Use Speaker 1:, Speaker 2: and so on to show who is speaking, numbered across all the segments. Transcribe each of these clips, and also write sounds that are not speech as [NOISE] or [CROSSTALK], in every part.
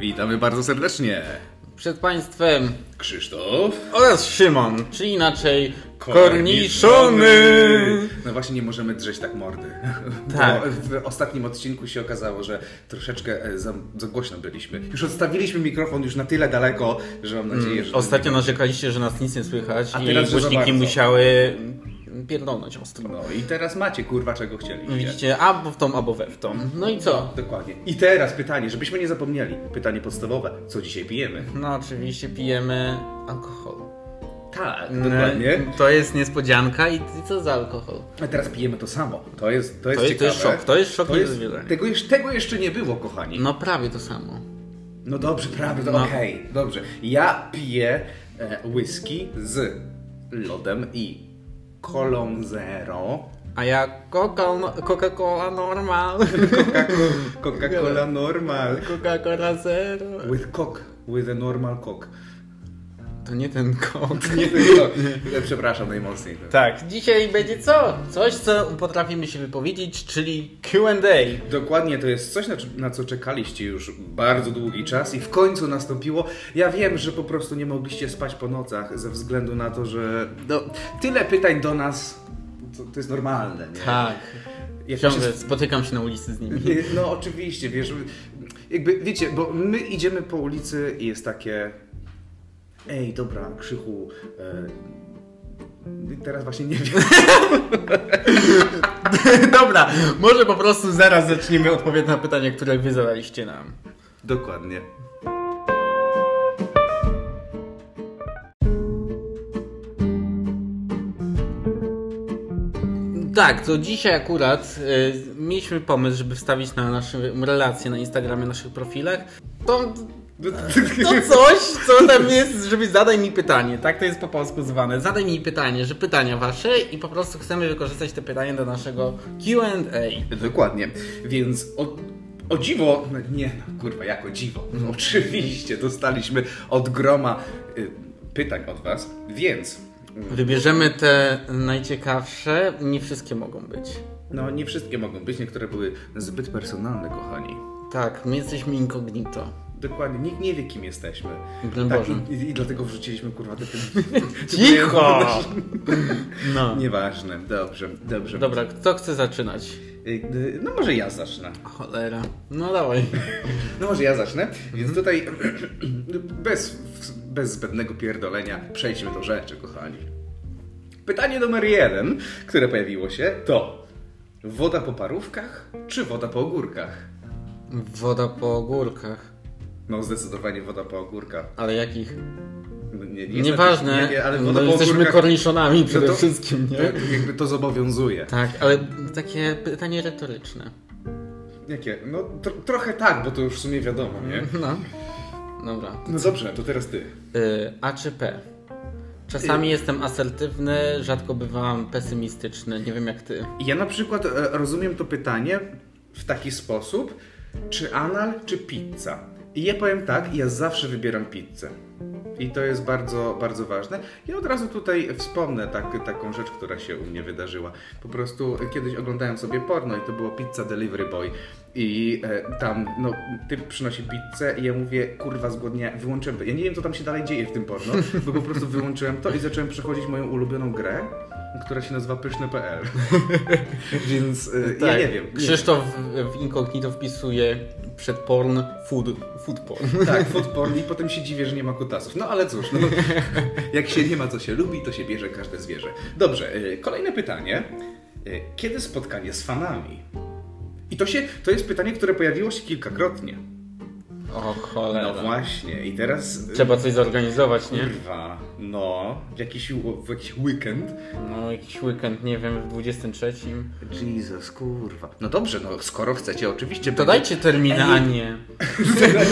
Speaker 1: Witamy bardzo serdecznie.
Speaker 2: Przed Państwem
Speaker 1: Krzysztof.
Speaker 2: oraz Szymon, czy inaczej korniszony.
Speaker 1: Korniszony. No właśnie nie możemy drzeć tak mordy. [LAUGHS]
Speaker 2: Tak.
Speaker 1: Bo w ostatnim odcinku się okazało, że troszeczkę e, za, za głośno byliśmy. Już odstawiliśmy mikrofon już na tyle daleko, że mam nadzieję, że...
Speaker 2: Ostatnio narzekaliście, że nas nic nie słychać
Speaker 1: A
Speaker 2: i
Speaker 1: teraz, że za
Speaker 2: głośniki
Speaker 1: bardzo.
Speaker 2: musiały pierdolnąć ostro.
Speaker 1: No i teraz macie kurwa czego chcieliście.
Speaker 2: Widzicie, albo w tą, albo we w tą. No i co?
Speaker 1: Dokładnie. I teraz pytanie, żebyśmy nie zapomnieli. Pytanie podstawowe. Co dzisiaj pijemy?
Speaker 2: No oczywiście pijemy alkohol.
Speaker 1: Tak,
Speaker 2: No,
Speaker 1: dokładnie.
Speaker 2: To jest niespodzianka i i co za alkohol?
Speaker 1: A teraz pijemy to samo. To jest, to jest
Speaker 2: To jest- to
Speaker 1: ciekawe.
Speaker 2: jest szok, to jest szok niezmierny.
Speaker 1: tego, jeszcze, tego jeszcze nie było, kochani.
Speaker 2: No prawie to samo.
Speaker 1: No dobrze, prawie, to
Speaker 2: No.
Speaker 1: okej, dobrze. Ja piję e, whisky z lodem i kolą zero.
Speaker 2: A ja Coca- Coca-Cola normal. [LAUGHS]
Speaker 1: Coca- Coca-Cola normal.
Speaker 2: Coca-Cola zero.
Speaker 1: With cock, with a normal cock.
Speaker 2: To nie ten kok.
Speaker 1: [LAUGHS] Nie, [LAUGHS] tylko, E, przepraszam najmocniej.
Speaker 2: Tak, dzisiaj będzie co? Coś, co potrafimy się wypowiedzieć, czyli QA.
Speaker 1: Dokładnie, to jest coś, na, cz- na co czekaliście już bardzo długi czas i w końcu nastąpiło. Ja wiem, że po prostu nie mogliście spać po nocach ze względu na to, że no, tyle pytań do nas, to, to jest normalne. Nie?
Speaker 2: Tak.
Speaker 1: Jak się
Speaker 2: Ciągle spotykam się na ulicy z nimi.
Speaker 1: Nie, No oczywiście, wiesz, jakby, wiecie, bo my idziemy po ulicy i jest takie ej, dobra, Krzychu, e, teraz właśnie nie wiem.
Speaker 2: [LAUGHS] Dobra, może po prostu zaraz zaczniemy odpowiedź na pytania, które wy zadaliście nam.
Speaker 1: [LAUGHS] Dokładnie.
Speaker 2: Tak, to dzisiaj akurat y, mieliśmy pomysł, żeby wstawić na naszym relacje na Instagramie, naszych profilach. To,
Speaker 1: No, Tak.
Speaker 2: [LAUGHS] to coś, co tam jest, żeby zadaj mi pytanie. Tak to jest po polsku zwane. Zadaj mi pytanie, że pytania wasze i po prostu chcemy wykorzystać te pytania do naszego Q&A.
Speaker 1: [LAUGHS] Dokładnie, więc o, o dziwo, no nie, no, kurwa, jako dziwo, no [LAUGHS] oczywiście dostaliśmy od groma e, pytań od was, więc...
Speaker 2: Wybierzemy te najciekawsze, nie wszystkie mogą być.
Speaker 1: No, nie wszystkie mogą być, niektóre były zbyt personalne, kochani.
Speaker 2: Tak, my jesteśmy incognito.
Speaker 1: Dokładnie, nikt nie wie, kim jesteśmy.
Speaker 2: Broń
Speaker 1: Tak,
Speaker 2: Boże.
Speaker 1: i, i, I dlatego wrzuciliśmy kurwa te
Speaker 2: [LAUGHS] Cicho! No.
Speaker 1: Nieważne, dobrze, dobrze.
Speaker 2: Dobra, kto chce zaczynać?
Speaker 1: Y, y, No może ja zacznę.
Speaker 2: Cholera. No dawaj.
Speaker 1: No może ja zacznę.
Speaker 2: Mhm.
Speaker 1: Więc tutaj [CLEARS THROAT] bez, bez zbędnego pierdolenia przejdźmy do rzeczy, kochani. Pytanie numer jeden, które pojawiło się, to woda po parówkach czy woda po ogórkach?
Speaker 2: Woda po ogórkach.
Speaker 1: No zdecydowanie woda po ogórkach.
Speaker 2: Ale jakich?
Speaker 1: No, nie- nie-
Speaker 2: Nieważne.
Speaker 1: nie- nie, ale woda
Speaker 2: no,
Speaker 1: po
Speaker 2: jesteśmy
Speaker 1: ogórkach- No
Speaker 2: korniszonami przede
Speaker 1: to- No.
Speaker 2: wszystkim, nie?
Speaker 1: To, jakby to zobowiązuje.
Speaker 2: Tak, ale takie pytanie retoryczne.
Speaker 1: Jakie? No tro, trochę tak, bo to już w sumie wiadomo, nie?
Speaker 2: No. Dobra.
Speaker 1: No dobrze, to teraz ty.
Speaker 2: Y, A czy P?
Speaker 1: Y.
Speaker 2: Czasami jestem asertywny, rzadko bywam pesymistyczny. Nie wiem jak ty.
Speaker 1: Ja na przykład e, rozumiem to pytanie w taki sposób, czy anal, czy pizza. I ja powiem tak, ja zawsze wybieram pizzę. I to jest bardzo, bardzo ważne. Ja od razu tutaj wspomnę tak, taką rzecz, która się u mnie wydarzyła. Po prostu kiedyś oglądałem sobie porno i to było Pizza Delivery Boy. I e, tam, no, typ przynosi pizzę i ja mówię, kurwa, zgłodnia, wyłączyłem to. Ja nie wiem, co tam się dalej dzieje w tym porno, bo po prostu wyłączyłem to i zacząłem przechodzić moją ulubioną grę, która się nazywa pyszne.pl. [LAUGHS] Więc e, ja nie wiem. Nie
Speaker 2: Tak. Krzysztof w incognito wpisuje przed porn food, food porn.
Speaker 1: Tak, food porn i potem się dziwię, że nie ma kutasów. No ale cóż, no, [LAUGHS] jak się nie ma co się lubi, to się bierze każde zwierzę. Dobrze, y, kolejne pytanie. Y, Kiedy spotkanie z fanami? I to, się, to jest pytanie, które pojawiło się kilkakrotnie.
Speaker 2: O
Speaker 1: No
Speaker 2: cholera.
Speaker 1: właśnie, i teraz... y,
Speaker 2: Trzeba coś zorganizować, nie?
Speaker 1: Kurwa, no, jakiś, w jakiś weekend.
Speaker 2: No jakiś weekend, nie wiem, w 23.
Speaker 1: Jesus, kurwa. No dobrze, no skoro chcecie, oczywiście... [LAUGHS]
Speaker 2: To dajcie terminy, a nie.
Speaker 1: Ale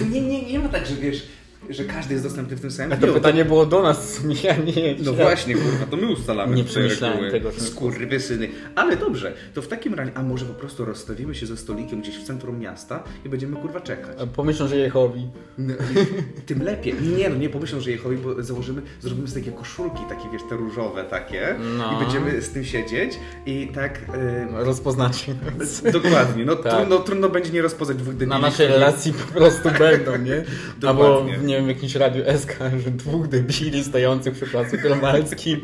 Speaker 1: to nie, nie, nie ma tak, że wiesz, że każdy jest dostępny w tym
Speaker 2: A
Speaker 1: samym
Speaker 2: to
Speaker 1: dniu.
Speaker 2: pytanie było do nas [LAUGHS] w sumie, a nie.
Speaker 1: No właśnie, kurwa, to my ustalamy
Speaker 2: Nie
Speaker 1: tutaj
Speaker 2: przemyślałem
Speaker 1: reguły.
Speaker 2: tego, że-
Speaker 1: Skurwysyny. Ale dobrze, to w takim razie, a może po prostu rozstawimy się ze stolikiem gdzieś w centrum miasta i będziemy kurwa czekać.
Speaker 2: Pomyślą, że Jehowi.
Speaker 1: No, tym lepiej. Nie no, nie pomyślą, że jechowi, bo założymy, zrobimy sobie takie koszulki, takie wiesz, te różowe takie
Speaker 2: No.
Speaker 1: i będziemy z tym siedzieć i tak... y,
Speaker 2: Rozpoznacie nas.
Speaker 1: Dokładnie, no,
Speaker 2: Tak.
Speaker 1: trudno, trudno będzie nie rozpoznać dwóch debili.
Speaker 2: Na naszej relacji po
Speaker 1: [LAUGHS]
Speaker 2: prostu będą, nie? Albo
Speaker 1: Dokładnie.
Speaker 2: w, nie wiem, w jakimś radiu SK, że dwóch debili stojących przy placu Gromalskim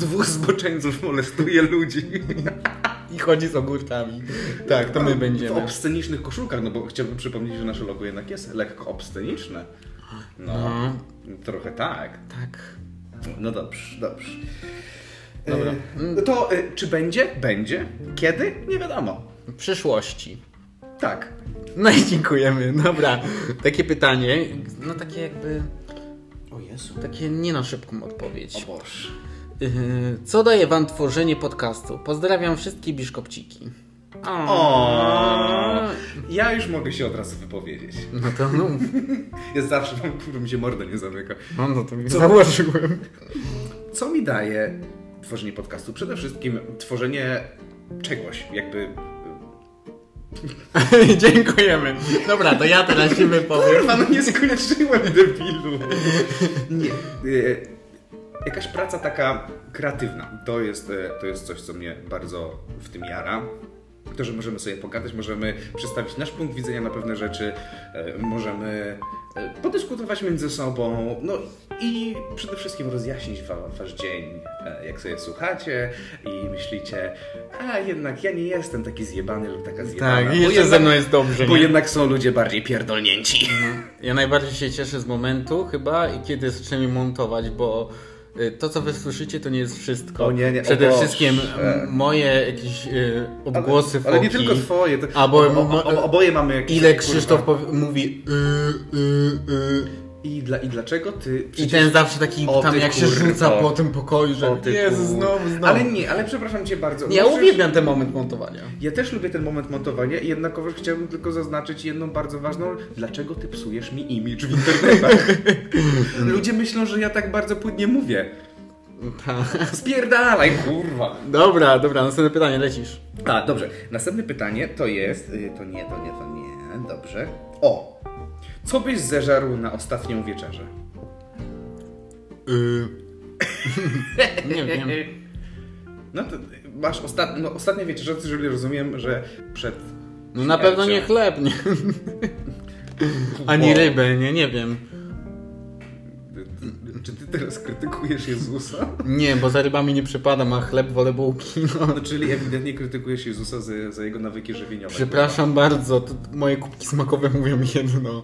Speaker 1: Dwóch zboczeńców molestuje ludzi.
Speaker 2: [LAUGHS] i chodzi z ogórkami. Tak, to my
Speaker 1: W
Speaker 2: będziemy.
Speaker 1: obscenicznych koszulkach, no bo chciałbym przypomnieć, że nasze logo jednak jest lekko obsceniczne. No,
Speaker 2: No,
Speaker 1: trochę tak.
Speaker 2: tak.
Speaker 1: No dobrze, dobrze.
Speaker 2: Dobra.
Speaker 1: E, no to e, czy będzie? Będzie. Kiedy? Nie wiadomo.
Speaker 2: W przyszłości.
Speaker 1: Tak.
Speaker 2: No i dziękujemy. Dobra, takie pytanie, no takie jakby,
Speaker 1: O Jezu.
Speaker 2: takie nie na szybką
Speaker 1: O
Speaker 2: odpowiedź.
Speaker 1: Boże.
Speaker 2: Yy, Co daje wam tworzenie podcastu? Pozdrawiam wszystkie biszkopciki.
Speaker 1: O. Ja już mogę się od razu wypowiedzieć.
Speaker 2: No to no,
Speaker 1: Ja zawsze mam, kurwa, mi się morda nie zamyka.
Speaker 2: no, no to mi założyłem. [LAUGHS]
Speaker 1: Co mi daje tworzenie podcastu? Przede wszystkim tworzenie czegoś, jakby...
Speaker 2: Dziękujemy. Dobra, to ja teraz się wypowiem.
Speaker 1: Kurwa, no nie skończyłem, debilu. Nie. e, Jakaś praca taka kreatywna. To jest, e, to jest coś, co mnie bardzo w tym jara. To, że możemy sobie pogadać, możemy przedstawić nasz punkt widzenia na pewne rzeczy, e, możemy e, podyskutować między sobą, no i przede wszystkim rozjaśnić wa- wasz dzień, e, jak sobie słuchacie i myślicie, a jednak ja nie jestem taki zjebany lub taka zjebana.
Speaker 2: Tak,
Speaker 1: bo
Speaker 2: i jeszcze ze
Speaker 1: jednak-
Speaker 2: mną jest dobrze.
Speaker 1: bo
Speaker 2: nie?
Speaker 1: jednak są ludzie bardziej pierdolnięci.
Speaker 2: Ja najbardziej się cieszę z momentu chyba, i kiedy zaczniemy montować, bo y, to, co wy słyszycie, to nie jest wszystko.
Speaker 1: O nie, nie, o
Speaker 2: Przede
Speaker 1: Boże.
Speaker 2: wszystkim m, moje jakieś y, obgłosy
Speaker 1: Ale nie
Speaker 2: foki.
Speaker 1: tylko twoje. To
Speaker 2: A bo-
Speaker 1: o, o, o, oboje mamy jakieś.
Speaker 2: Ile
Speaker 1: kurwa.
Speaker 2: Krzysztof powie, mówi y, y, y.
Speaker 1: I, dla, I dlaczego ty.
Speaker 2: i
Speaker 1: przecież-
Speaker 2: ten zawsze taki
Speaker 1: O
Speaker 2: tam
Speaker 1: ty
Speaker 2: jak się
Speaker 1: kurwo.
Speaker 2: rzuca po tym pokoju,
Speaker 1: O
Speaker 2: że
Speaker 1: ty
Speaker 2: Jezu,
Speaker 1: kur-
Speaker 2: znowu, znowu.
Speaker 1: Ale nie, ale przepraszam cię bardzo.
Speaker 2: ja
Speaker 1: Możesz-
Speaker 2: uwielbiam ten moment montowania.
Speaker 1: Ja też lubię ten moment montowania i jednakowoż chciałbym tylko zaznaczyć jedną bardzo ważną. Dlaczego ty psujesz mi imidż w
Speaker 2: [LAUGHS]
Speaker 1: internetach? Ludzie myślą, że ja tak bardzo płynnie mówię. Spierdalaj, kurwa.
Speaker 2: [LAUGHS] Dobra, dobra, następne pytanie, lecisz.
Speaker 1: A, dobrze. Następne pytanie to jest. y, To nie, to nie, to nie. Dobrze. O! Co byś zeżarł na ostatnią wieczerzę?
Speaker 2: Y. [LAUGHS] Nie wiem.
Speaker 1: [LAUGHS] No to masz ostat... no, ostatnie wieczerze, jeżeli rozumiem, że przed.
Speaker 2: No na pewno nie chleb, nie. Ani rybę, nie, nie wiem.
Speaker 1: Czy ty teraz krytykujesz Jezusa? [LAUGHS]
Speaker 2: Nie, bo za rybami nie przypadam, a chleb wolę bułki. No.
Speaker 1: No, czyli ewidentnie krytykujesz Jezusa za, za jego nawyki żywieniowe.
Speaker 2: Przepraszam bardzo, to moje kubki smakowe mówią mi jedno.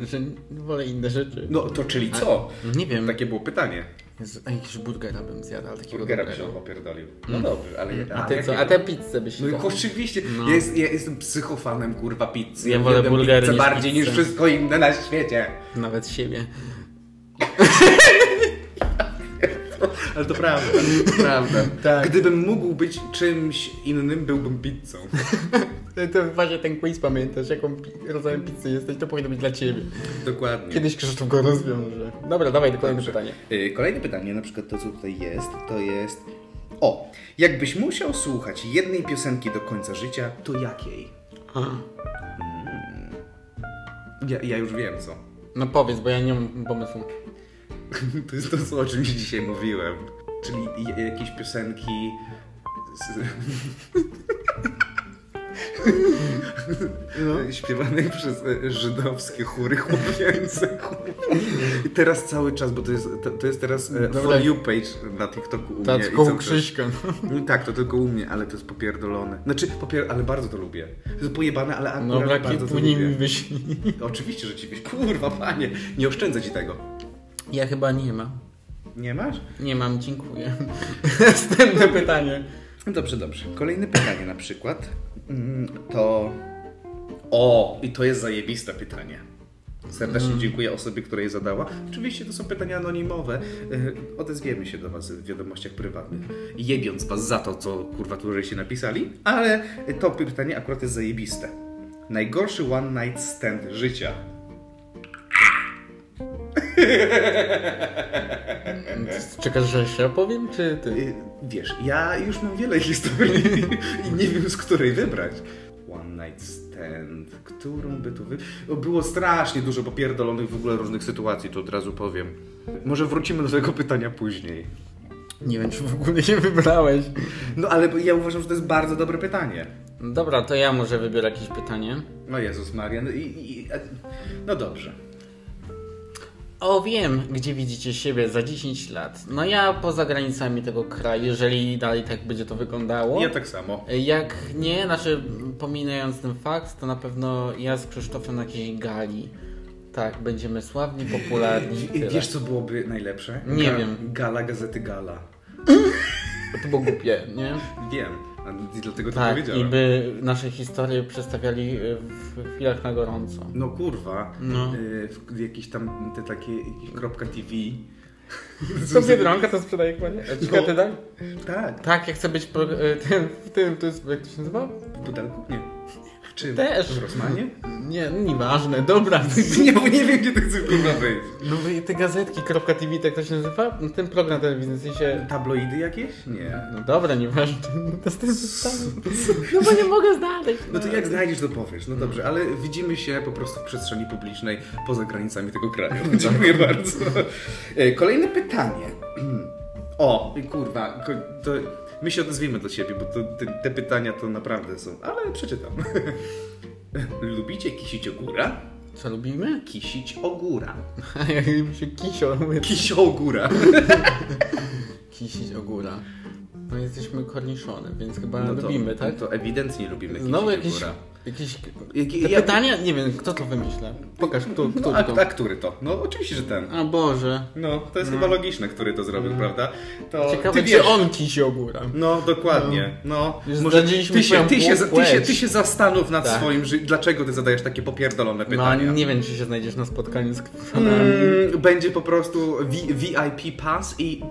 Speaker 2: Że wolę inne rzeczy.
Speaker 1: No to czyli co? Tak-
Speaker 2: Nie wiem,
Speaker 1: Takie było pytanie.
Speaker 2: Jezu, a jakiegoś burgera bym zjadł, ale takiego
Speaker 1: Burgera by
Speaker 2: dobrego.
Speaker 1: się opierdolił. No dobrze, ale...
Speaker 2: Hmm. A ty co? A tę
Speaker 1: jakiego?
Speaker 2: pizzę byś
Speaker 1: No i
Speaker 2: jadł.
Speaker 1: oczywiście,
Speaker 2: No.
Speaker 1: ja, jest, ja jestem psychofanem kurwa pizzy.
Speaker 2: Ja wolę
Speaker 1: jadłem
Speaker 2: burgery
Speaker 1: pizzę
Speaker 2: niż
Speaker 1: bardziej
Speaker 2: pizzę.
Speaker 1: niż wszystko inne na świecie.
Speaker 2: Nawet siebie.
Speaker 1: Ale to [LAUGHS] prawda, to prawda.
Speaker 2: [LAUGHS] Tak.
Speaker 1: Gdybym mógł być czymś innym, byłbym pizzą.
Speaker 2: To- To właśnie ten quiz pamiętasz, jaką pi- rodzajem pizzy jesteś, to powinno być dla ciebie.
Speaker 1: Dokładnie.
Speaker 2: Kiedyś Krzysztof go rozwiąże. Dobra, dawaj, kolejne
Speaker 1: Dobrze.
Speaker 2: pytanie.
Speaker 1: Y, Kolejne pytanie, na przykład to, co tutaj jest, to jest. O, jakbyś musiał słuchać jednej piosenki do końca życia, to jakiej? Ja, ja już wiem co. [LAUGHS]
Speaker 2: No powiedz, bo ja nie mam pomysłu.
Speaker 1: To jest to, co o czym ci dzisiaj mówiłem. Czyli j- jakieś piosenki. Z...
Speaker 2: [LAUGHS] No.
Speaker 1: [LAUGHS] Śpiewanej przez e, żydowskie chóry chłopięce. kurwa. I teraz cały czas, bo to jest, to, to jest teraz e,
Speaker 2: Dobra.
Speaker 1: for you page na TikToku u
Speaker 2: Tak,
Speaker 1: mnie. i
Speaker 2: tylko u
Speaker 1: cały czas-
Speaker 2: Krzyśka.
Speaker 1: No tak, to tylko u mnie, ale to jest popierdolone. Znaczy, popier... ale bardzo to lubię. To jest pojebane, ale akurat
Speaker 2: No brak
Speaker 1: bardzo to
Speaker 2: później mi
Speaker 1: lubię.
Speaker 2: wyślij.
Speaker 1: Oczywiście, że ci byś... Kurwa, panie, nie oszczędzę ci tego.
Speaker 2: Ja chyba nie mam.
Speaker 1: Nie masz?
Speaker 2: Nie mam, dziękuję. [LAUGHS] Następne pytanie.
Speaker 1: No Dobrze, dobrze. Kolejne pytanie na przykład mm, to... O, i to jest zajebiste pytanie. Serdecznie dziękuję osobie, która je zadała. Oczywiście to są pytania anonimowe. Yy, Odezwiemy się do Was w wiadomościach prywatnych, jebiąc Was za to, co kurwa tu się napisali, ale to pytanie akurat jest zajebiste. Najgorszy one night stand życia.
Speaker 2: Czekasz, że się opowiem, czy ty?
Speaker 1: Y, Wiesz, ja już mam wiele historii i nie wiem, z której wybrać. One night stand, którą by tu wy... O, Było strasznie dużo popierdolonych w ogóle różnych sytuacji, to od razu powiem. Może wrócimy do tego pytania później.
Speaker 2: Nie wiem, czy w ogóle nie wybrałeś.
Speaker 1: No ale ja uważam, że to jest bardzo dobre pytanie.
Speaker 2: Dobra, to ja może wybiorę jakieś pytanie.
Speaker 1: No Jezus Maria, no i... i a, no dobrze.
Speaker 2: O, wiem, gdzie widzicie siebie za 10 lat. No ja poza granicami tego kraju, jeżeli dalej tak będzie to wyglądało.
Speaker 1: Ja tak samo.
Speaker 2: Jak nie, znaczy pominając ten fakt, to na pewno ja z Krzysztofem na jakiejś gali. Tak, będziemy sławni, popularni. i
Speaker 1: I-
Speaker 2: Tyle.
Speaker 1: Wiesz, co byłoby najlepsze?
Speaker 2: Nie wiem.
Speaker 1: Gala Gazety Gala.
Speaker 2: to było głupie, nie?
Speaker 1: Wiem, a dlatego to
Speaker 2: Tak, i
Speaker 1: powiedziałem.
Speaker 2: by nasze historie przedstawiali y, w chwilach na gorąco.
Speaker 1: No kurwa,
Speaker 2: No.
Speaker 1: Y, w- jakieś tam te takie jakieś kropka TV.
Speaker 2: Co Biedronka to sprzedaje panie?
Speaker 1: Czekaj, ty
Speaker 2: tak?
Speaker 1: Tak,
Speaker 2: Tak, ja chcę być pro, y, tym, w tym, to jest, jak to się nazywa?
Speaker 1: w butelku? Nie. W czym?
Speaker 2: Też. [LAUGHS]
Speaker 1: W Rosmanie?
Speaker 2: Nie, no nieważne, dobra.
Speaker 1: nie, bo nie wiem, gdzie ty chcesz kurwa wejść.
Speaker 2: No i te gazetki, kropka TV, tak to się nazywa? No, Ten program telewizyjny się...
Speaker 1: Tabloidy jakieś? Nie.
Speaker 2: No dobra, nieważne, [LAUGHS] to z tym zostało. No bo nie mogę znaleźć.
Speaker 1: No to jak znajdziesz, to powiesz. No dobrze, ale widzimy się po prostu w przestrzeni publicznej poza granicami tego kraju.
Speaker 2: [LAUGHS]
Speaker 1: Dziękuję bardzo. E, Kolejne pytanie. [CLEARS THROAT] O, i kurwa, ko- to my się odezwiemy do ciebie, bo to, te, te pytania to naprawdę są, ale przeczytam. [LAUGHS] Lubicie kisić ogóra?
Speaker 2: Co lubimy? [LAUGHS]
Speaker 1: Kisić ogóra. [LAUGHS]
Speaker 2: Jak mi się kisio, mówię,
Speaker 1: Kisio ogóra.
Speaker 2: kisić ogóra. No jesteśmy korniszone, więc chyba
Speaker 1: No to-
Speaker 2: lubimy, tak?
Speaker 1: To ewidentnie lubimy kisić
Speaker 2: Znowu jakieś...
Speaker 1: ogóra.
Speaker 2: jakieś...
Speaker 1: Jaki-
Speaker 2: Te
Speaker 1: ja-
Speaker 2: pytania? Nie wiem, kto to wymyśla. Pokaż, kto, kto
Speaker 1: No, a,
Speaker 2: to.
Speaker 1: a który to? No oczywiście, że ten.
Speaker 2: A Boże.
Speaker 1: No, to jest chyba logiczne, który to zrobił, prawda? To
Speaker 2: Mm. Ciekawe, czy on kisi ogóra.
Speaker 1: No, dokładnie. No,
Speaker 2: Już
Speaker 1: może ty się,
Speaker 2: zdradziliśmy
Speaker 1: ty, się,
Speaker 2: twoją
Speaker 1: ty, się, ty,
Speaker 2: płeć.
Speaker 1: się, ty się zastanów nad
Speaker 2: Tak.
Speaker 1: swoim życiem, dlaczego ty zadajesz takie popierdolone
Speaker 2: No
Speaker 1: pytania.
Speaker 2: nie wiem, czy się znajdziesz na spotkaniu z kwiatami.
Speaker 1: Mm, będzie po prostu V- VIP pass i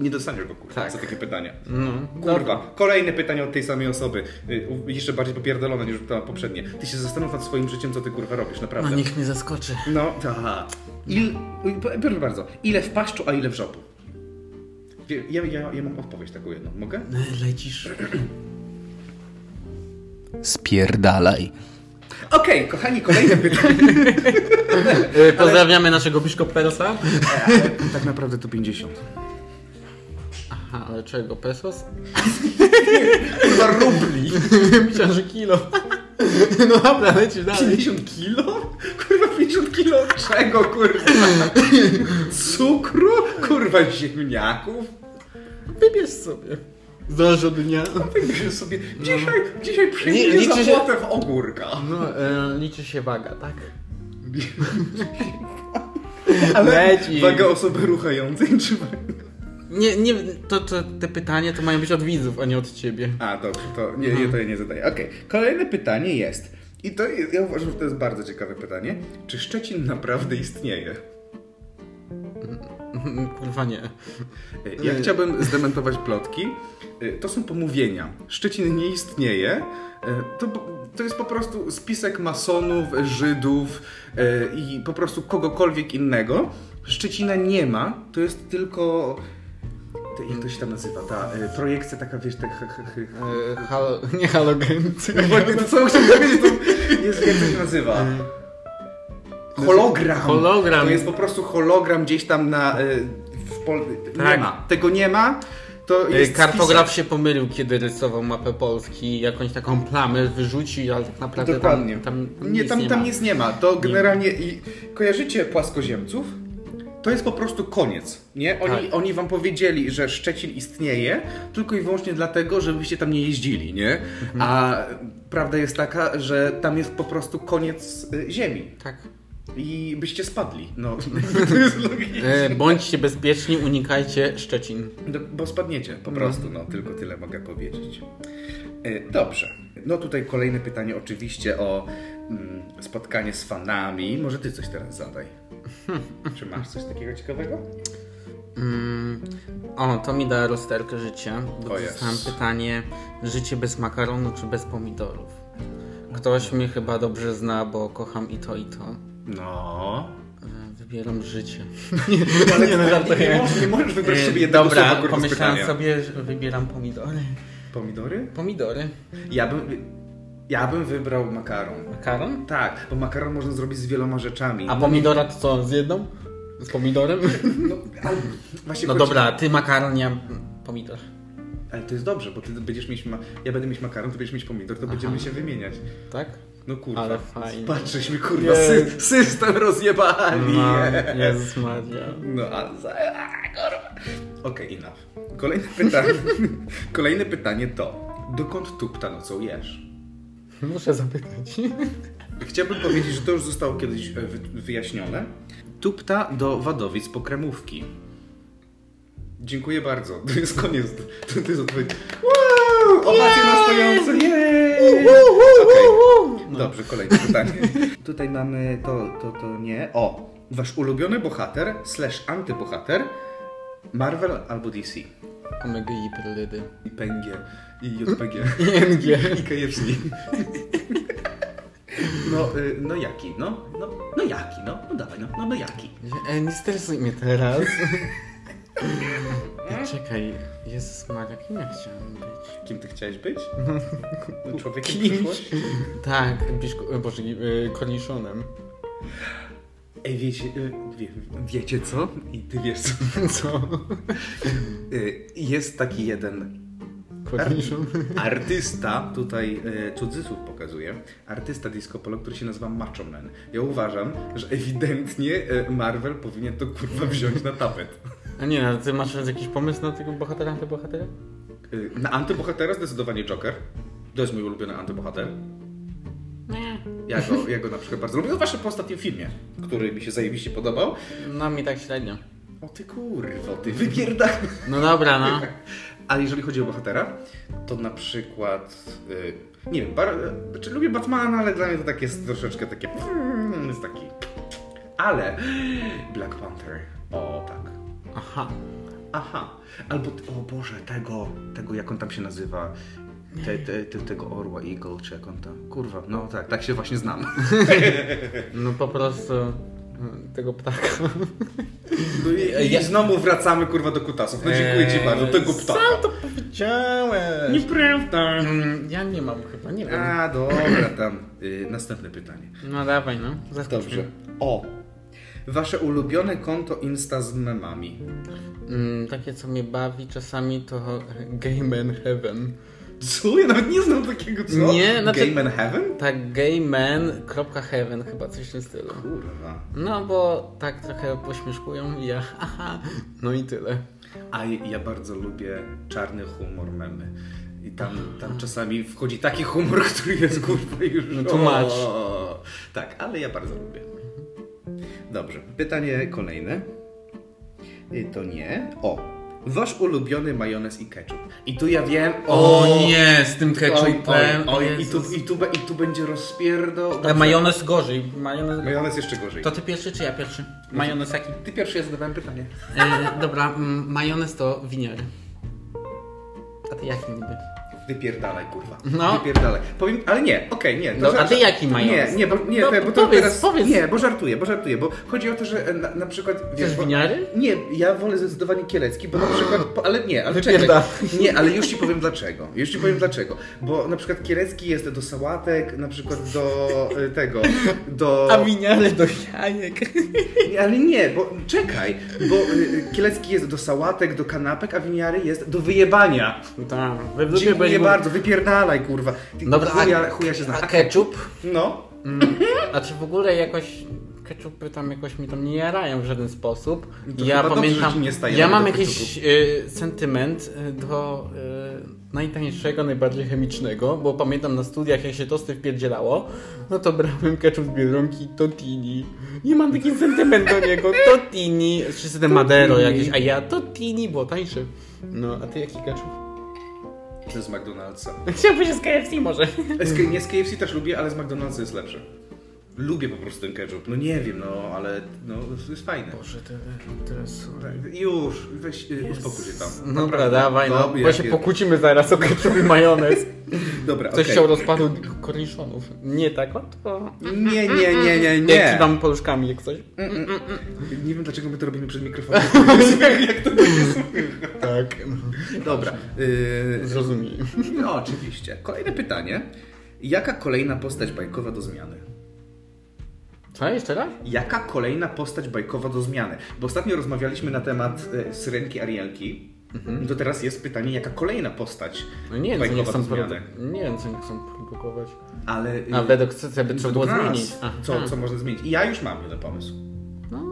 Speaker 1: nie dostaniesz go, kurwa,
Speaker 2: Tak.
Speaker 1: za takie pytania.
Speaker 2: No,
Speaker 1: Kurwa, kolejne pytanie od tej samej osoby, y, u- jeszcze bardziej popierdolone niż to poprzednie. Ty się zastanów nad swoim życiem, co ty kurwa robisz,
Speaker 2: No
Speaker 1: naprawdę.
Speaker 2: niech mnie zaskoczy.
Speaker 1: No, aha. Il, p- proszę bardzo, ile w paszczu, a ile w żopu? Wie- Ja, ja, ja mam odpowiedź taką jedną, mogę?
Speaker 2: Lecisz.
Speaker 1: E,
Speaker 3: Spierdalaj.
Speaker 1: Okej, kochani, kolejne pytanie.
Speaker 2: Pozdrawiamy naszego biszkopersa.
Speaker 1: [LAUGHS] tak naprawdę to 50.
Speaker 2: Aha, ale czego? Pesos? [LAUGHS]
Speaker 1: Chyba rubli.
Speaker 2: Myślałem, że kilo. [LAUGHS] No dobra, lecisz dalej.
Speaker 1: 50 kilo? Kurwa, 50 kilo czego, kurwa? Cukru? Kurwa, ziemniaków?
Speaker 2: Wybierz sobie. Zależy od dnia.
Speaker 1: Wybierz sobie, dzisiaj, dzisiaj
Speaker 2: Nie,
Speaker 1: przyjmuję
Speaker 2: liczy się-
Speaker 1: zapłatę w ogórka.
Speaker 2: No, e, liczy się waga, tak?
Speaker 1: Ale
Speaker 2: Leci.
Speaker 1: waga osoby ruchającej, czy... waga-
Speaker 2: Nie, nie, to, to te pytania to mają być od widzów, a nie od ciebie.
Speaker 1: A, dobrze, to nie, nie, to ja nie zadaję. Okej, kolejne pytanie jest. I to jest, ja uważam, że to jest bardzo ciekawe pytanie. Czy Szczecin naprawdę istnieje?
Speaker 2: [LAUGHS] Kurwa nie.
Speaker 1: E, Ja chciałbym zdementować plotki. E, To są pomówienia. Szczecin nie istnieje. E, To, to jest po prostu spisek masonów, Żydów e, i po prostu kogokolwiek innego. Szczecina nie ma, to jest tylko. to- Jak to się tam nazywa? Ta e, projekcja taka, wiesz, tak. he- he- he-
Speaker 2: E, halo, [LAUGHS] nie halogency.
Speaker 1: Dokładnie to, co chciałem powiedzieć, to jest, jak to się nazywa? Hologram.
Speaker 2: Mm. Hologram.
Speaker 1: To jest po prostu hologram gdzieś tam na... y, W Pol... Nie
Speaker 2: Tak.
Speaker 1: ma. Tego nie ma. To
Speaker 2: E,
Speaker 1: jest
Speaker 2: Kartograf się pomylił, kiedy rysował mapę Polski, jakąś taką plamę wyrzucił, ale tak
Speaker 1: spisek.
Speaker 2: naprawdę
Speaker 1: Dokładnie.
Speaker 2: tam, tam,
Speaker 1: nie,
Speaker 2: nic
Speaker 1: tam,
Speaker 2: nie
Speaker 1: tam
Speaker 2: ma.
Speaker 1: nic nie ma. To generalnie... I... Kojarzycie płaskoziemców? To jest po prostu koniec. Nie? Oni,
Speaker 2: Tak.
Speaker 1: oni wam powiedzieli, że Szczecin istnieje tylko i wyłącznie dlatego, żebyście tam nie jeździli, nie? A prawda jest taka, że tam jest po prostu koniec y, ziemi.
Speaker 2: Tak.
Speaker 1: I byście spadli. No, [LAUGHS]
Speaker 2: [LAUGHS]
Speaker 1: to jest logiczne.
Speaker 2: E, bądźcie bezpieczni, unikajcie Szczecin.
Speaker 1: Do- Bo spadniecie, po prostu, no, tylko tyle mogę powiedzieć. E, Dobrze. No tutaj kolejne pytanie oczywiście o mm, spotkanie z fanami. Może ty coś
Speaker 2: [LAUGHS]
Speaker 1: teraz zadaj. Czy masz coś takiego ciekawego?
Speaker 2: Mm, o, to mi da rozterkę życia.
Speaker 1: O
Speaker 2: Bo
Speaker 1: jest.
Speaker 2: dostałem pytanie, życie bez makaronu czy bez pomidorów? Ktoś mnie chyba dobrze zna, bo kocham i to, i to.
Speaker 1: No.
Speaker 2: E, Wybieram życie. [LAUGHS]
Speaker 1: Ale
Speaker 2: nie, no,
Speaker 1: nie,
Speaker 2: żartuję.
Speaker 1: nie, możesz, nie możesz wybrać
Speaker 2: Yy,
Speaker 1: sobie jednego
Speaker 2: Dobra,
Speaker 1: słowa, kurwa, z
Speaker 2: pomyślałem
Speaker 1: pytania.
Speaker 2: sobie, że wybieram pomidory.
Speaker 1: Pomidory?
Speaker 2: Pomidory.
Speaker 1: Ja bym, ja bym wybrał makaron.
Speaker 2: Makaron?
Speaker 1: Tak, bo makaron można zrobić z wieloma rzeczami.
Speaker 2: A pomidora to co, z jedną? Z
Speaker 1: [LAUGHS]
Speaker 2: pomidorem?
Speaker 1: No, ale właśnie
Speaker 2: No
Speaker 1: chodzi-
Speaker 2: dobra, ty makaron, ja pomidor.
Speaker 1: Ale to jest dobrze, bo ty będziesz mieć. Ma... Ja będę mieć makaron, ty będziesz mieć pomidor, to będziemy się wymieniać.
Speaker 2: Tak?
Speaker 1: No kurwa.
Speaker 2: Ale fajnie.
Speaker 1: Patrzyśmy, kurwa, sy- system rozjebali.
Speaker 2: Ma- No, Jezus Maria.
Speaker 1: [LAUGHS] No, a za... a, kurwa. Okej, enough. Kolejne pytanie. [LAUGHS] Kolejne pytanie to. Dokąd tupta nocą jesz?
Speaker 2: Muszę zapytać.
Speaker 1: Chciałbym powiedzieć, że to już zostało kiedyś e, wy- wyjaśnione. Tupta do Wadowic po kremówki. Dziękuję bardzo. To jest koniec. To, to jest odpowiedź. Wow! Owacje na stojąco!
Speaker 2: [LAUGHS]
Speaker 1: Jej! Okej. No.
Speaker 2: No,
Speaker 1: Dobrze, kolejne pytanie. [LAUGHS] Tutaj mamy to, to, to nie. O! Wasz ulubiony bohater slash antybohater Marvel albo DC.
Speaker 2: Omega i perlydy.
Speaker 1: I PNG. I JPG.
Speaker 2: ING.
Speaker 1: [LAUGHS] I KFC. No, y, no jaki, no? No, no jaki, no? No dawaj, no, no, no jaki.
Speaker 2: E, nie stresuj mnie teraz.
Speaker 1: [LAUGHS]
Speaker 2: E, Czekaj, Jezus Maria, kim ja chciałem być?
Speaker 1: Kim ty chciałeś być? No, Człowiekiem przyszłości?
Speaker 2: Tak, biszku, e, boże, e, korniszonem.
Speaker 1: Ej, wiecie, y, wie, wiecie co? I ty wiesz co.
Speaker 2: [LAUGHS] Co?
Speaker 1: Y, Jest taki jeden
Speaker 2: [LAUGHS] Korniszon?
Speaker 1: Artysta, tutaj e, cudzysłów pokazuje, artysta disco polo, który się nazywa Macho Man. Ja uważam, że ewidentnie e, Marvel powinien to kurwa wziąć na tapet.
Speaker 2: A nie, no, ty masz jakiś pomysł na tego bohatera, antybohatera?
Speaker 1: E, na antybohatera zdecydowanie Joker. To jest mój ulubiony antybohater.
Speaker 2: Nie.
Speaker 1: Ja go, ja go na przykład bardzo lubię. No właśnie po ostatnim filmie, który mi się zajebiście podobał.
Speaker 2: No mi tak średnio.
Speaker 1: O ty kurwo, ty wypierdaj.
Speaker 2: No dobra, no.
Speaker 1: Ale jeżeli chodzi o bohatera, to na przykład. y, nie wiem, bar, y, znaczy lubię Batmana, ale dla mnie to tak jest troszeczkę takie. mm, Jest taki. Ale Black Panther. O tak.
Speaker 2: Aha.
Speaker 1: Aha. Albo. t- O Boże, tego, tego jak on tam się nazywa. Te, te, te, tego Orła Eagle, czy jak on tam. Kurwa, no tak, tak się właśnie
Speaker 2: [LAUGHS]
Speaker 1: znam.
Speaker 2: No po prostu mm, tego ptaka.
Speaker 1: No I, i znowu wracamy kurwa do kutasów. No dziękuję ci bardzo, tego ptaka.
Speaker 2: Eee, Sam to powiedziałem. Mm,
Speaker 1: Nieprawda.
Speaker 2: Ja nie mam chyba, nie wiem.
Speaker 1: A, dobra, tam. Y, następne pytanie.
Speaker 2: No dawaj, no. Zaskocz
Speaker 1: Dobrze. O! Wasze ulubione konto Insta z memami.
Speaker 2: Mm, takie, co mnie bawi czasami, to Game in Heaven.
Speaker 1: Co? Ja nawet nie znam takiego, co?
Speaker 2: Nie, znaczy-
Speaker 1: Game in Heaven?
Speaker 2: Tak, gayman.heaven, chyba coś w tym stylu.
Speaker 1: Kurwa.
Speaker 2: No bo tak trochę pośmieszkują i ja, [LAUGHS] haha, no i tyle.
Speaker 1: A ja ja bardzo lubię czarny humor memy. I tam, tam czasami wchodzi taki humor, [LAUGHS] który jest kurwa już...
Speaker 2: No to masz.
Speaker 1: O, Tak, ale ja bardzo lubię. Dobrze, pytanie kolejne. Y, To nie. O! Wasz ulubiony majonez i ketchup. I tu ja wiem...
Speaker 2: nie, z tym
Speaker 1: Oj, oj, i, tu, i, tu, be- I tu będzie rozpierdo.
Speaker 2: Ale majonez gorzej. Majonez...
Speaker 1: Majonez jeszcze gorzej.
Speaker 2: To ty pierwszy czy ja pierwszy? Majonez jaki?
Speaker 1: Ty pierwszy ja zadawałem pytanie.
Speaker 2: E, dobra, mm, majonez to winiar. A ty jaki niby?
Speaker 1: Wypierdalaj, kurwa.
Speaker 2: No.
Speaker 1: Wypierdalaj. Powiem, ale nie, okej, nie. to
Speaker 2: No, a
Speaker 1: żart-
Speaker 2: ty jaki majonez?
Speaker 1: Nie, nie, bo, nie,
Speaker 2: No,
Speaker 1: to, bo to
Speaker 2: powiedz,
Speaker 1: teraz...
Speaker 2: powiedz.
Speaker 1: Nie, bo żartuję, bo żartuję, bo chodzi o to, że e, na, na przykład...
Speaker 2: Chcesz
Speaker 1: bo,
Speaker 2: winiary?
Speaker 1: nie, ja wolę zdecydowanie kielecki, bo na przykład... Po, ale nie, ale czekaj.
Speaker 2: Wypierdalaj.
Speaker 1: Nie, ale już ci powiem dlaczego. Już ci powiem dlaczego. Bo na przykład kielecki jest do sałatek, na przykład do e, tego, do...
Speaker 2: A winiary do jajek.
Speaker 1: [LAUGHS] Nie, Ale nie, bo czekaj, bo y, y, kielecki jest do sałatek, do kanapek, a winiary jest do wyjebania.
Speaker 2: Tak, we wdupie
Speaker 1: Dziękuję
Speaker 2: będzie-
Speaker 1: bardzo, wypierdalaj kurwa. Ty
Speaker 2: Dobra,
Speaker 1: chuja,
Speaker 2: a,
Speaker 1: chuja się zna.
Speaker 2: a ketchup?
Speaker 1: No,
Speaker 2: A czy w ogóle jakoś ketchupy tam jakoś mi tam nie jarają w żaden sposób?
Speaker 1: To
Speaker 2: ja
Speaker 1: chyba dobrze,
Speaker 2: pamiętam,
Speaker 1: że ci nie staje
Speaker 2: ja
Speaker 1: na
Speaker 2: mam
Speaker 1: tego
Speaker 2: jakiś y, sentyment y, do y, najtańszego, najbardziej chemicznego, bo pamiętam na studiach jak się tosty wpierdzielało, no to brałem ketchup z Biedronki Totini. Nie mam taki sentyment do [LAUGHS] niego. Totini, wszyscy te Madero
Speaker 1: Totini.
Speaker 2: jakieś, a ja Totini, było tańsze. No, a ty jaki [LAUGHS] ketchup?
Speaker 1: to z [LAUGHS] McDonald'sa.
Speaker 2: Chciałbym się z KFC może.
Speaker 1: Z, K- nie, z KFC też lubię, ale z McDonald'sa jest lepszy. lubię po prostu ten ketchup. No nie wiem, no ale no, jest fajne.
Speaker 2: Boże, te, teraz...
Speaker 1: Już, weź, y, uspokój się tam.
Speaker 2: No dobra,
Speaker 1: Naprawdę.
Speaker 2: dawaj, no,
Speaker 1: Dobra,
Speaker 2: bo się
Speaker 1: jak-
Speaker 2: pokłócimy zaraz o ketchup i
Speaker 1: [LAUGHS]
Speaker 2: majonez.
Speaker 1: Dobra,
Speaker 2: Ktoś
Speaker 1: okej.
Speaker 2: chciał rozpadu korniszonów. Nie tak łatwo.
Speaker 1: Nie, nie, nie, nie,
Speaker 2: Nie.
Speaker 1: nie. Mm,
Speaker 2: Kiwam poluszkami jak coś.
Speaker 1: Nie wiem dlaczego my to robimy przed
Speaker 2: [LAUGHS]
Speaker 1: mikrofonem. bo nie wiem, jak to będzie słychać.
Speaker 2: Tak.
Speaker 1: Dobra, y,
Speaker 2: Zrozumij.
Speaker 1: No, oczywiście. Kolejne pytanie. Jaka kolejna postać bajkowa do zmiany?
Speaker 2: Co, jeszcze raz?
Speaker 1: Jaka kolejna postać bajkowa do zmiany? Bo ostatnio rozmawialiśmy na temat e, Syrenki Arielki.
Speaker 2: Mhm.
Speaker 1: To teraz jest pytanie, jaka kolejna postać
Speaker 2: No nie wiem, co nie
Speaker 1: bajkowa do
Speaker 2: chcą
Speaker 1: zmiany?
Speaker 2: produ- nie wiem, co nie chcą produkować.
Speaker 1: Ale y,
Speaker 2: A według co by trzeba było
Speaker 1: według nas,
Speaker 2: zmienić. Aha.
Speaker 1: Co, co można zmienić? I ja już mam jeden pomysł.
Speaker 2: No,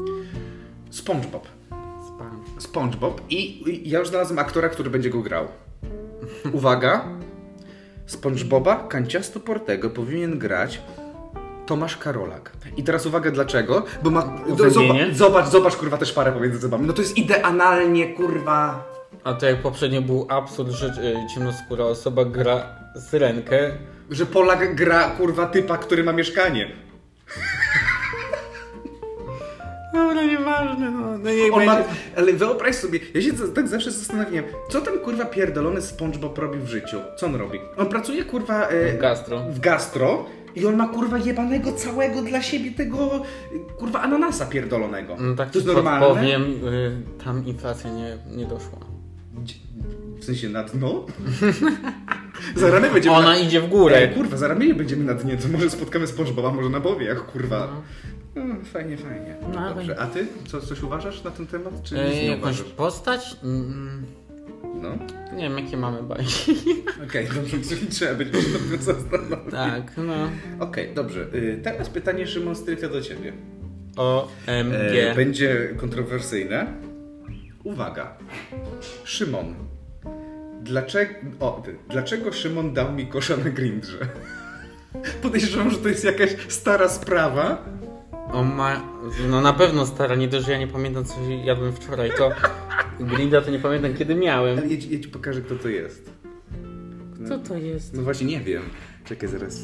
Speaker 1: SpongeBob.
Speaker 2: spam.
Speaker 1: SpongeBob i, i ja już znalazłem aktora, który będzie go grał. Uwaga. SpongeBoba Kanciasto Portego powinien grać Tomasz Karolak. I teraz uwaga dlaczego? Bo ma do, zobacz,
Speaker 2: Uwęgienie?
Speaker 1: zobacz, zobacz kurwa też parę pomiędzy zębami. No to jest idealnie kurwa.
Speaker 2: A to jak poprzednio był absurd, że y, ciemnoskóra osoba gra syrenkę.
Speaker 1: Że Polak gra kurwa typa, który ma mieszkanie.
Speaker 2: Dobra, nieważne, no. No niech
Speaker 1: On ma,
Speaker 2: będzie.
Speaker 1: ale wyobraź sobie, ja się z- tak zawsze zastanawiałem, co ten kurwa pierdolony SpongeBob robi w życiu? Co on robi? On pracuje kurwa e,
Speaker 2: Gastro.
Speaker 1: w gastro i on ma kurwa jebanego całego dla siebie tego y, kurwa ananasa pierdolonego.
Speaker 2: No tak
Speaker 1: to
Speaker 2: ci
Speaker 1: jest normalne.
Speaker 2: podpowiem, y, tam inflacja nie, nie doszła.
Speaker 1: Gdzie- W sensie na dno? [LAUGHS] za ramię będziemy
Speaker 2: Ona
Speaker 1: na...
Speaker 2: idzie w górę.
Speaker 1: tak- Ej, kurwa, za ramię będziemy na dnie, to może spotkamy SpongeBoba, może na bowie, jak kurwa. Mm, fajnie, fajnie.
Speaker 2: No, ale-
Speaker 1: Dobrze, a ty? Co, coś uważasz na ten temat, czy nic
Speaker 2: Y,
Speaker 1: nie
Speaker 2: jakąś
Speaker 1: uważasz?
Speaker 2: postać? Mm,
Speaker 1: No,
Speaker 2: nie wiem, jakie mamy bajki.
Speaker 1: [LAUGHS] okej, dobrze, czyli trzeba będzie się nad tym zastanowić.
Speaker 2: tak, no.
Speaker 1: Okej, dobrze, y, teraz pytanie, Szymon, stricte do ciebie.
Speaker 2: O, M,
Speaker 1: E,
Speaker 2: G.
Speaker 1: Będzie kontrowersyjne. Uwaga. Szymon. Dlaczego, o, ty. dlaczego Szymon dał mi kosza na grindrze? [LAUGHS] Podejrzewam, że to jest jakaś stara sprawa.
Speaker 2: On ma... No na pewno stara, nie dość, że ja nie pamiętam, co jadłem wczoraj, to... Grinda to nie pamiętam, kiedy
Speaker 1: Ale
Speaker 2: miałem.
Speaker 1: ja ci, ja ci pokażę, kto to jest.
Speaker 2: Co to jest?
Speaker 1: No właśnie, nie wiem. Czekaj, zaraz.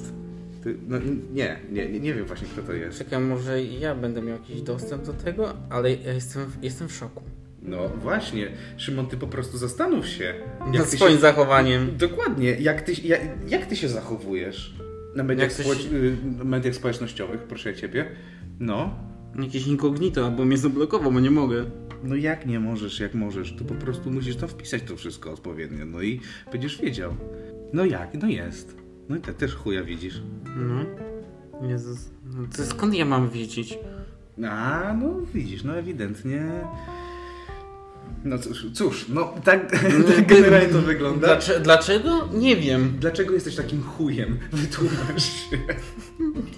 Speaker 1: Ty, no, nie, nie, nie, nie wiem właśnie, kto to jest.
Speaker 2: Czekaj, może ja będę miał jakiś dostęp do tego, ale ja jestem, w- jestem w szoku.
Speaker 1: No właśnie, Szymon, ty po prostu zastanów się.
Speaker 2: Nad
Speaker 1: ty się-
Speaker 2: swoim zachowaniem.
Speaker 1: Dokładnie. Jak ty, jak, jak ty się zachowujesz na mediach,
Speaker 2: Jak ty
Speaker 1: społecz...
Speaker 2: się-
Speaker 1: y, mediach społecznościowych, proszę ciebie? No.
Speaker 2: Jakieś inkognito, albo mnie zablokował, bo nie mogę.
Speaker 1: No jak nie możesz, jak możesz? To po prostu musisz tam wpisać to wszystko odpowiednio, no i będziesz wiedział. No jak? No jest. No i te też chuja widzisz.
Speaker 2: No. Jezus. No to skąd ja mam wiedzieć?
Speaker 1: A, no widzisz, no ewidentnie... No cóż, cóż no tak, [LAUGHS] [LAUGHS] tak generalnie to wygląda.
Speaker 2: Dlacze, dlaczego? Nie wiem.
Speaker 1: Dlaczego jesteś takim chujem? Wytłumacz się.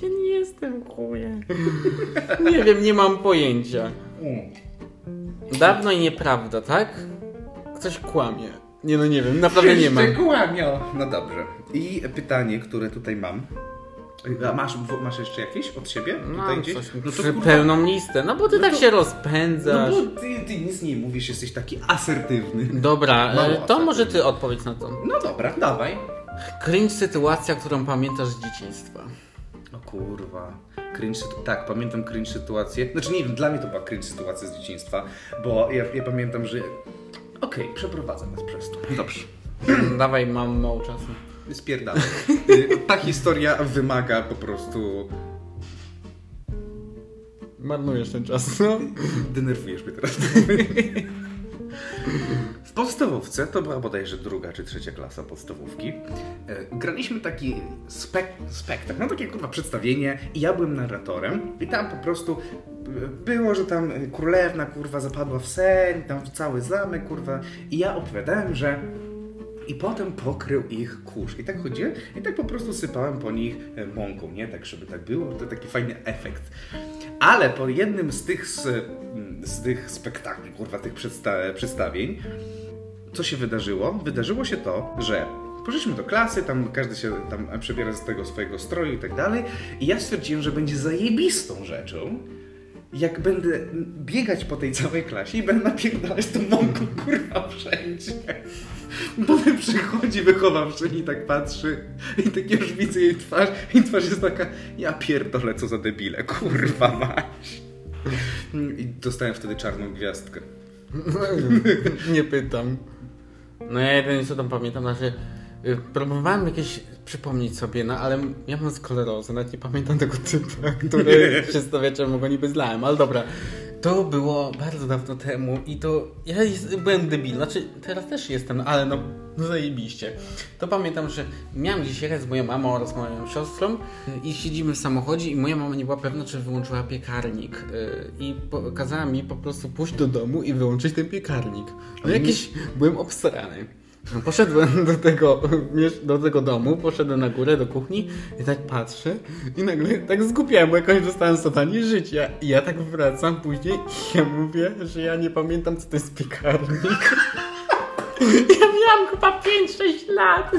Speaker 2: Ja nie jestem chuje. Nie wiem, nie mam pojęcia.
Speaker 1: Mm.
Speaker 2: Dawno i nieprawda, tak? Ktoś kłamie. Nie no nie wiem, naprawdę nie mam.
Speaker 1: Kłamio. No dobrze. I pytanie, które tutaj mam. A Masz, w- masz jeszcze jakieś od siebie? tutaj
Speaker 2: Mam
Speaker 1: gdzieś?
Speaker 2: coś,
Speaker 1: no to
Speaker 2: przy
Speaker 1: kurwa,
Speaker 2: pełną listę. No bo ty
Speaker 1: No
Speaker 2: tak
Speaker 1: to-
Speaker 2: się
Speaker 1: No
Speaker 2: rozpędzasz.
Speaker 1: bo ty, ty nic nie mówisz, jesteś taki asertywny.
Speaker 2: Dobra, e,
Speaker 1: Mało
Speaker 2: to
Speaker 1: asertywny.
Speaker 2: może ty odpowiedz na to.
Speaker 1: No dobra, dawaj.
Speaker 2: Cringe sytuacja, którą pamiętasz z dzieciństwa. [CLEARS THROAT]
Speaker 1: O kurwa. Cringe, sytu- tak, pamiętam cringe sytuację. Znaczy nie wiem, dla mnie to była cringe sytuacja z dzieciństwa, bo ja, ja pamiętam, że... Okej, przeprowadzę nas przez to. Dobrze.
Speaker 2: Dawaj, mam mało czasu.
Speaker 1: Spierdalaj. Y, Ta historia wymaga po prostu...
Speaker 2: Marnujesz ten czas, no.
Speaker 1: [CLEARS THROAT] Denerwujesz mnie teraz. W podstawówce, to była bodajże druga czy trzecia klasa podstawówki, e, graliśmy taki spek spektakl, no takie kurwa przedstawienie i ja byłem narratorem i tam po prostu e, było, że tam e, królewna kurwa zapadła w sen, tam w cały zamek kurwa i ja opowiadałem, że i potem pokrył ich kurz. I tak chodziłem i tak po prostu sypałem po nich e, mąką, nie? Tak, żeby tak było. To taki fajny efekt. Ale po jednym z tych, s- m, z tych spektakli, kurwa, tych przedsta- przedstawień, co się wydarzyło? Wydarzyło się to, że poszliśmy do klasy, tam każdy się tam przebiera z tego swojego stroju i tak dalej. I ja stwierdziłem, że będzie zajebistą rzeczą, jak będę biegać po tej całej klasie i będę napierdalać tą mąką, kurwa, wszędzie. Potem przychodzi wychowawczyni, tak patrzy i tak już widzę jej twarz i twarz jest taka, ja pierdolę, co za debile, kurwa mać. I dostałem wtedy czarną gwiazdkę.
Speaker 2: [LAUGHS] Nie pytam. No ja jedynie co tam pamiętam, znaczy y, próbowałem jakieś przypomnieć sobie, no ale ja mam sklerozę, nawet nie pamiętam tego typa, [LAUGHS] który przez to wieczorem go niby znałem, ale dobra. To było bardzo dawno temu i to ja jest, byłem debil, znaczy teraz też jestem, ale no, no zajebiście. To pamiętam, że miałem gdzieś jechać z moją mamą oraz moją siostrą y, i siedzimy w samochodzie i moja mama nie była pewna, czy wyłączyła piekarnik y, i po, kazała mi po prostu pójść do domu i wyłączyć ten piekarnik. No jakiś byłem obsrany. No, Poszedłem do tego, miesz- do tego domu, poszedłem na górę do kuchni i tak patrzę i nagle tak zgubiłem, bo jakoś dostałem satanie życia. I ja tak wracam później i ja mówię, że ja nie pamiętam co to jest piekarnik. [LAUGHS] Ja miałam chyba 5-6 lat.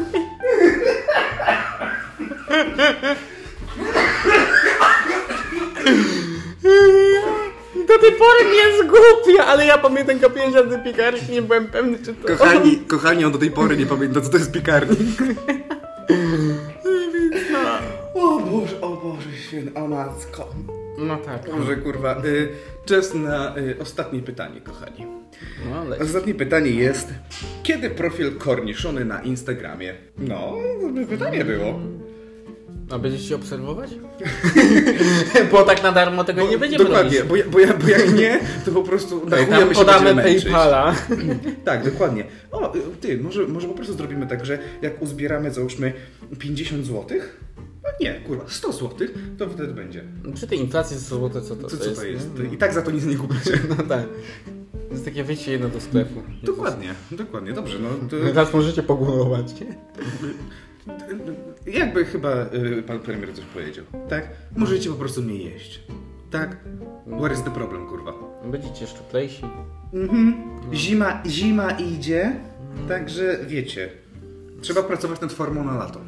Speaker 2: Do tej pory mnie zgubię, ale ja pamiętam go 5 lat do piekarnik, nie byłem pewny czy to...
Speaker 1: Kochani, kochani, on do tej pory nie pamięta, co to jest piekarnik. O Boże, o Boże, święta matko.
Speaker 2: No tak.
Speaker 1: Boże, kurwa. Y, czas na y, ostatnie pytanie, kochani.
Speaker 2: No, ale...
Speaker 1: Ostatnie pytanie jest, kiedy profil korniszony na Instagramie? No, dobre pytanie było.
Speaker 2: A będziesz się obserwować? [LAUGHS] Bo tak na darmo tego nie będziemy
Speaker 1: Dokładnie,
Speaker 2: robić.
Speaker 1: bo, ja- bo, ja, bo jak nie, to po prostu na chuja
Speaker 2: Tam
Speaker 1: my się
Speaker 2: podamy
Speaker 1: będziemy męczyć.
Speaker 2: Paypala. [LAUGHS]
Speaker 1: Tak, dokładnie. O, y, ty, może, może po prostu zrobimy tak, że jak uzbieramy, załóżmy, 50 zł? No nie, kurwa, 100 zł, to wtedy będzie.
Speaker 2: Przy tej inflacji ze złote co to, no,
Speaker 1: Co, co to jest?
Speaker 2: nie?
Speaker 1: I tak za to nic nie kupicie.
Speaker 2: [LAUGHS] No tak. To jest takie wyjście jedno do sklepu.
Speaker 1: Dokładnie, dokładnie, dobrze, no to...
Speaker 2: Teraz możecie pogłosować.
Speaker 1: Jakby chyba y, pan premier coś powiedział, tak? Możecie po prostu mnie jeść, tak? Where is the problem, kurwa?
Speaker 2: Będziecie szczuplejsi.
Speaker 1: Mhm. Zima, zima idzie, także wiecie, trzeba pracować nad formą na lato.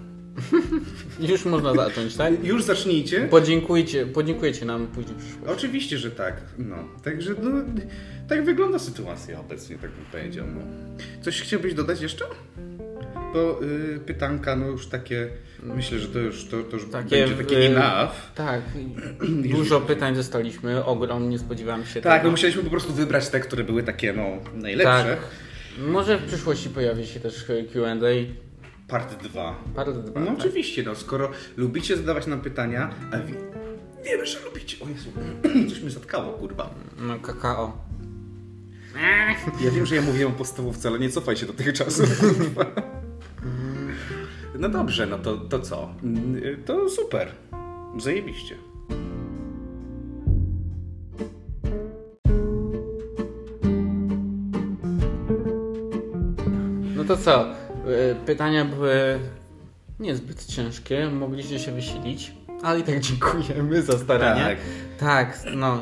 Speaker 2: Już można zacząć, tak?
Speaker 1: Już zacznijcie.
Speaker 2: Podziękujcie, podziękujecie nam później w przyszłości.
Speaker 1: Oczywiście, że tak, no. Także, no, tak wygląda sytuacja obecnie, tak bym powiedział, no. Coś chciałbyś dodać jeszcze? Bo y, pytanka, no już takie, myślę, że to już, to, to już
Speaker 2: Takie,
Speaker 1: będzie takie
Speaker 2: y,
Speaker 1: enough.
Speaker 2: Tak, dużo pytań dostaliśmy, ogrom, nie spodziewałem się
Speaker 1: Tak, no
Speaker 2: tego.
Speaker 1: musieliśmy po prostu wybrać te, które były takie, no, najlepsze.
Speaker 2: Tak. Może w przyszłości pojawi się też Q&A,
Speaker 1: Part 2.
Speaker 2: part 2.
Speaker 1: No
Speaker 2: tak.
Speaker 1: oczywiście, no, skoro lubicie zadawać nam pytania, a wi- wiemy, że lubicie. O Jezu, [CLEARS THROAT] coś mnie zatkało, kurwa.
Speaker 2: No, kakao.
Speaker 1: Ja wiem, że ja mówiłem o podstawówce, ale nie cofaj się do tych [LAUGHS] czasów, kurwa. No dobrze, no to, to co? Mm, To super. Zajebiście.
Speaker 2: No to co? Y, Pytania były niezbyt ciężkie, mogliście się wysilić, ale i tak dziękujemy za staranie.
Speaker 1: Tak.
Speaker 2: Tak, no.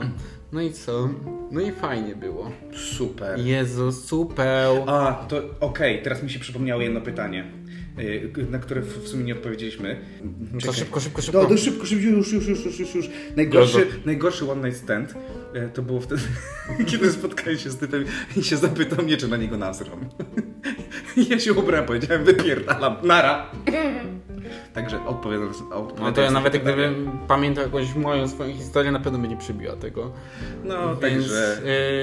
Speaker 2: No i co? No i fajnie było.
Speaker 1: Super.
Speaker 2: Jezu, super. No
Speaker 1: A, to okej, teraz mi się przypomniało jedno pytanie, y, na które w w sumie nie odpowiedzieliśmy.
Speaker 2: Co,
Speaker 1: Czekaj.
Speaker 2: szybko, szybko, szybko.
Speaker 1: No, no szybko, szybko, już, już, już, już, już, już. Najgorszy, najgorszy one night stand y, to było wtedy, [LAUGHS] kiedy spotkałem się z typem i się zapytał mnie, czy na niego nazwam. I [LAUGHS] ja się ubrałem, powiedziałem, wypierdalam, nara. Także odpowiadam, odpowiadam
Speaker 2: No to ja
Speaker 1: sobie
Speaker 2: nawet
Speaker 1: pytanie.
Speaker 2: gdybym pamiętał jakąś moją swoją historię, na pewno by nie przybiła tego.
Speaker 1: No,
Speaker 2: Więc
Speaker 1: także...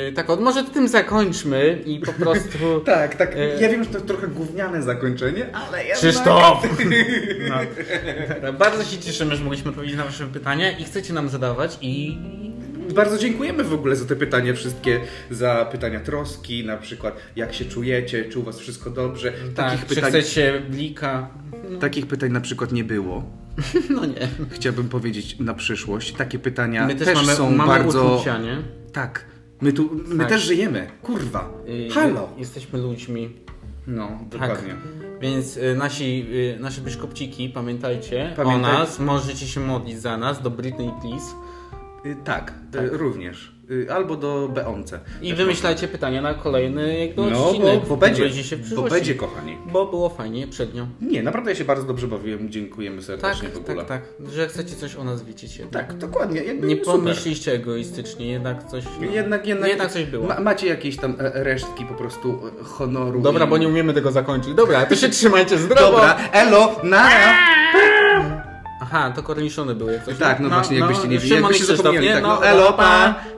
Speaker 2: y, tak, od, może tym zakończmy i
Speaker 1: [LAUGHS]
Speaker 2: po prostu.
Speaker 1: e, Tak, tak,
Speaker 2: y,
Speaker 1: ja wiem, że to trochę gówniane zakończenie, ale ja
Speaker 2: Krzysztof!
Speaker 1: [LAUGHS]
Speaker 2: No. Bardzo się cieszymy, że mogliśmy odpowiedzieć na Wasze pytania i chcecie nam zadawać i
Speaker 1: Bardzo dziękujemy w ogóle za te pytania wszystkie, za pytania troski, na przykład jak się czujecie, czy u was wszystko dobrze.
Speaker 2: tak,
Speaker 1: takich,
Speaker 2: czy
Speaker 1: pytań,
Speaker 2: chcecie blika?
Speaker 1: takich pytań na przykład nie było.
Speaker 2: [LAUGHS] No nie.
Speaker 1: Chciałbym powiedzieć na przyszłość, takie pytania
Speaker 2: My też,
Speaker 1: też,
Speaker 2: mamy,
Speaker 1: są
Speaker 2: mamy
Speaker 1: bardzo...
Speaker 2: uczucia, nie?
Speaker 1: Tak, my tu, my
Speaker 2: Tak.
Speaker 1: też żyjemy, kurwa,
Speaker 2: Y,
Speaker 1: halo.
Speaker 2: y, Jesteśmy ludźmi.
Speaker 1: No,
Speaker 2: Tak.
Speaker 1: dokładnie.
Speaker 2: Więc y, nasi, y, nasze biszkopciki, pamiętajcie
Speaker 1: Pamiętaj-
Speaker 2: o nas, możecie się modlić za nas, do Britney Please.
Speaker 1: Y, Tak, y, również. Y, Albo do Beonce.
Speaker 2: I wymyślajcie pytania na kolejny jakby
Speaker 1: No, bo,
Speaker 2: odcinek.
Speaker 1: bo będzie,
Speaker 2: Będzie się w
Speaker 1: bo
Speaker 2: przyszłości.
Speaker 1: będzie, kochani.
Speaker 2: Bo było fajnie przednio.
Speaker 1: Nie, naprawdę ja się bardzo dobrze bawiłem. Dziękujemy
Speaker 2: Tak,
Speaker 1: serdecznie w ogóle.
Speaker 2: tak, tak. Że chcecie coś o nas widzieć jednak.
Speaker 1: Tak, dokładnie. Jakby
Speaker 2: Nie
Speaker 1: super.
Speaker 2: pomyśliście egoistycznie, jednak coś. no.
Speaker 1: Jednak, jednak,
Speaker 2: jednak coś było.
Speaker 1: Ma, macie jakieś tam e, resztki po prostu e, honoru.
Speaker 2: Dobra,
Speaker 1: i-
Speaker 2: bo nie umiemy tego zakończyć. Dobra, to się trzymajcie zdrowo.
Speaker 1: Dobra, elo, nara!
Speaker 2: Aha, to korniszony były. jak Coś.
Speaker 1: Tak, no, właśnie, jakbyście nie widzieli,
Speaker 2: Szymon
Speaker 1: jakbyście
Speaker 2: i Krzysztof,
Speaker 1: zapomnieli.
Speaker 2: nie? no,
Speaker 1: Tak, no, elo, pa.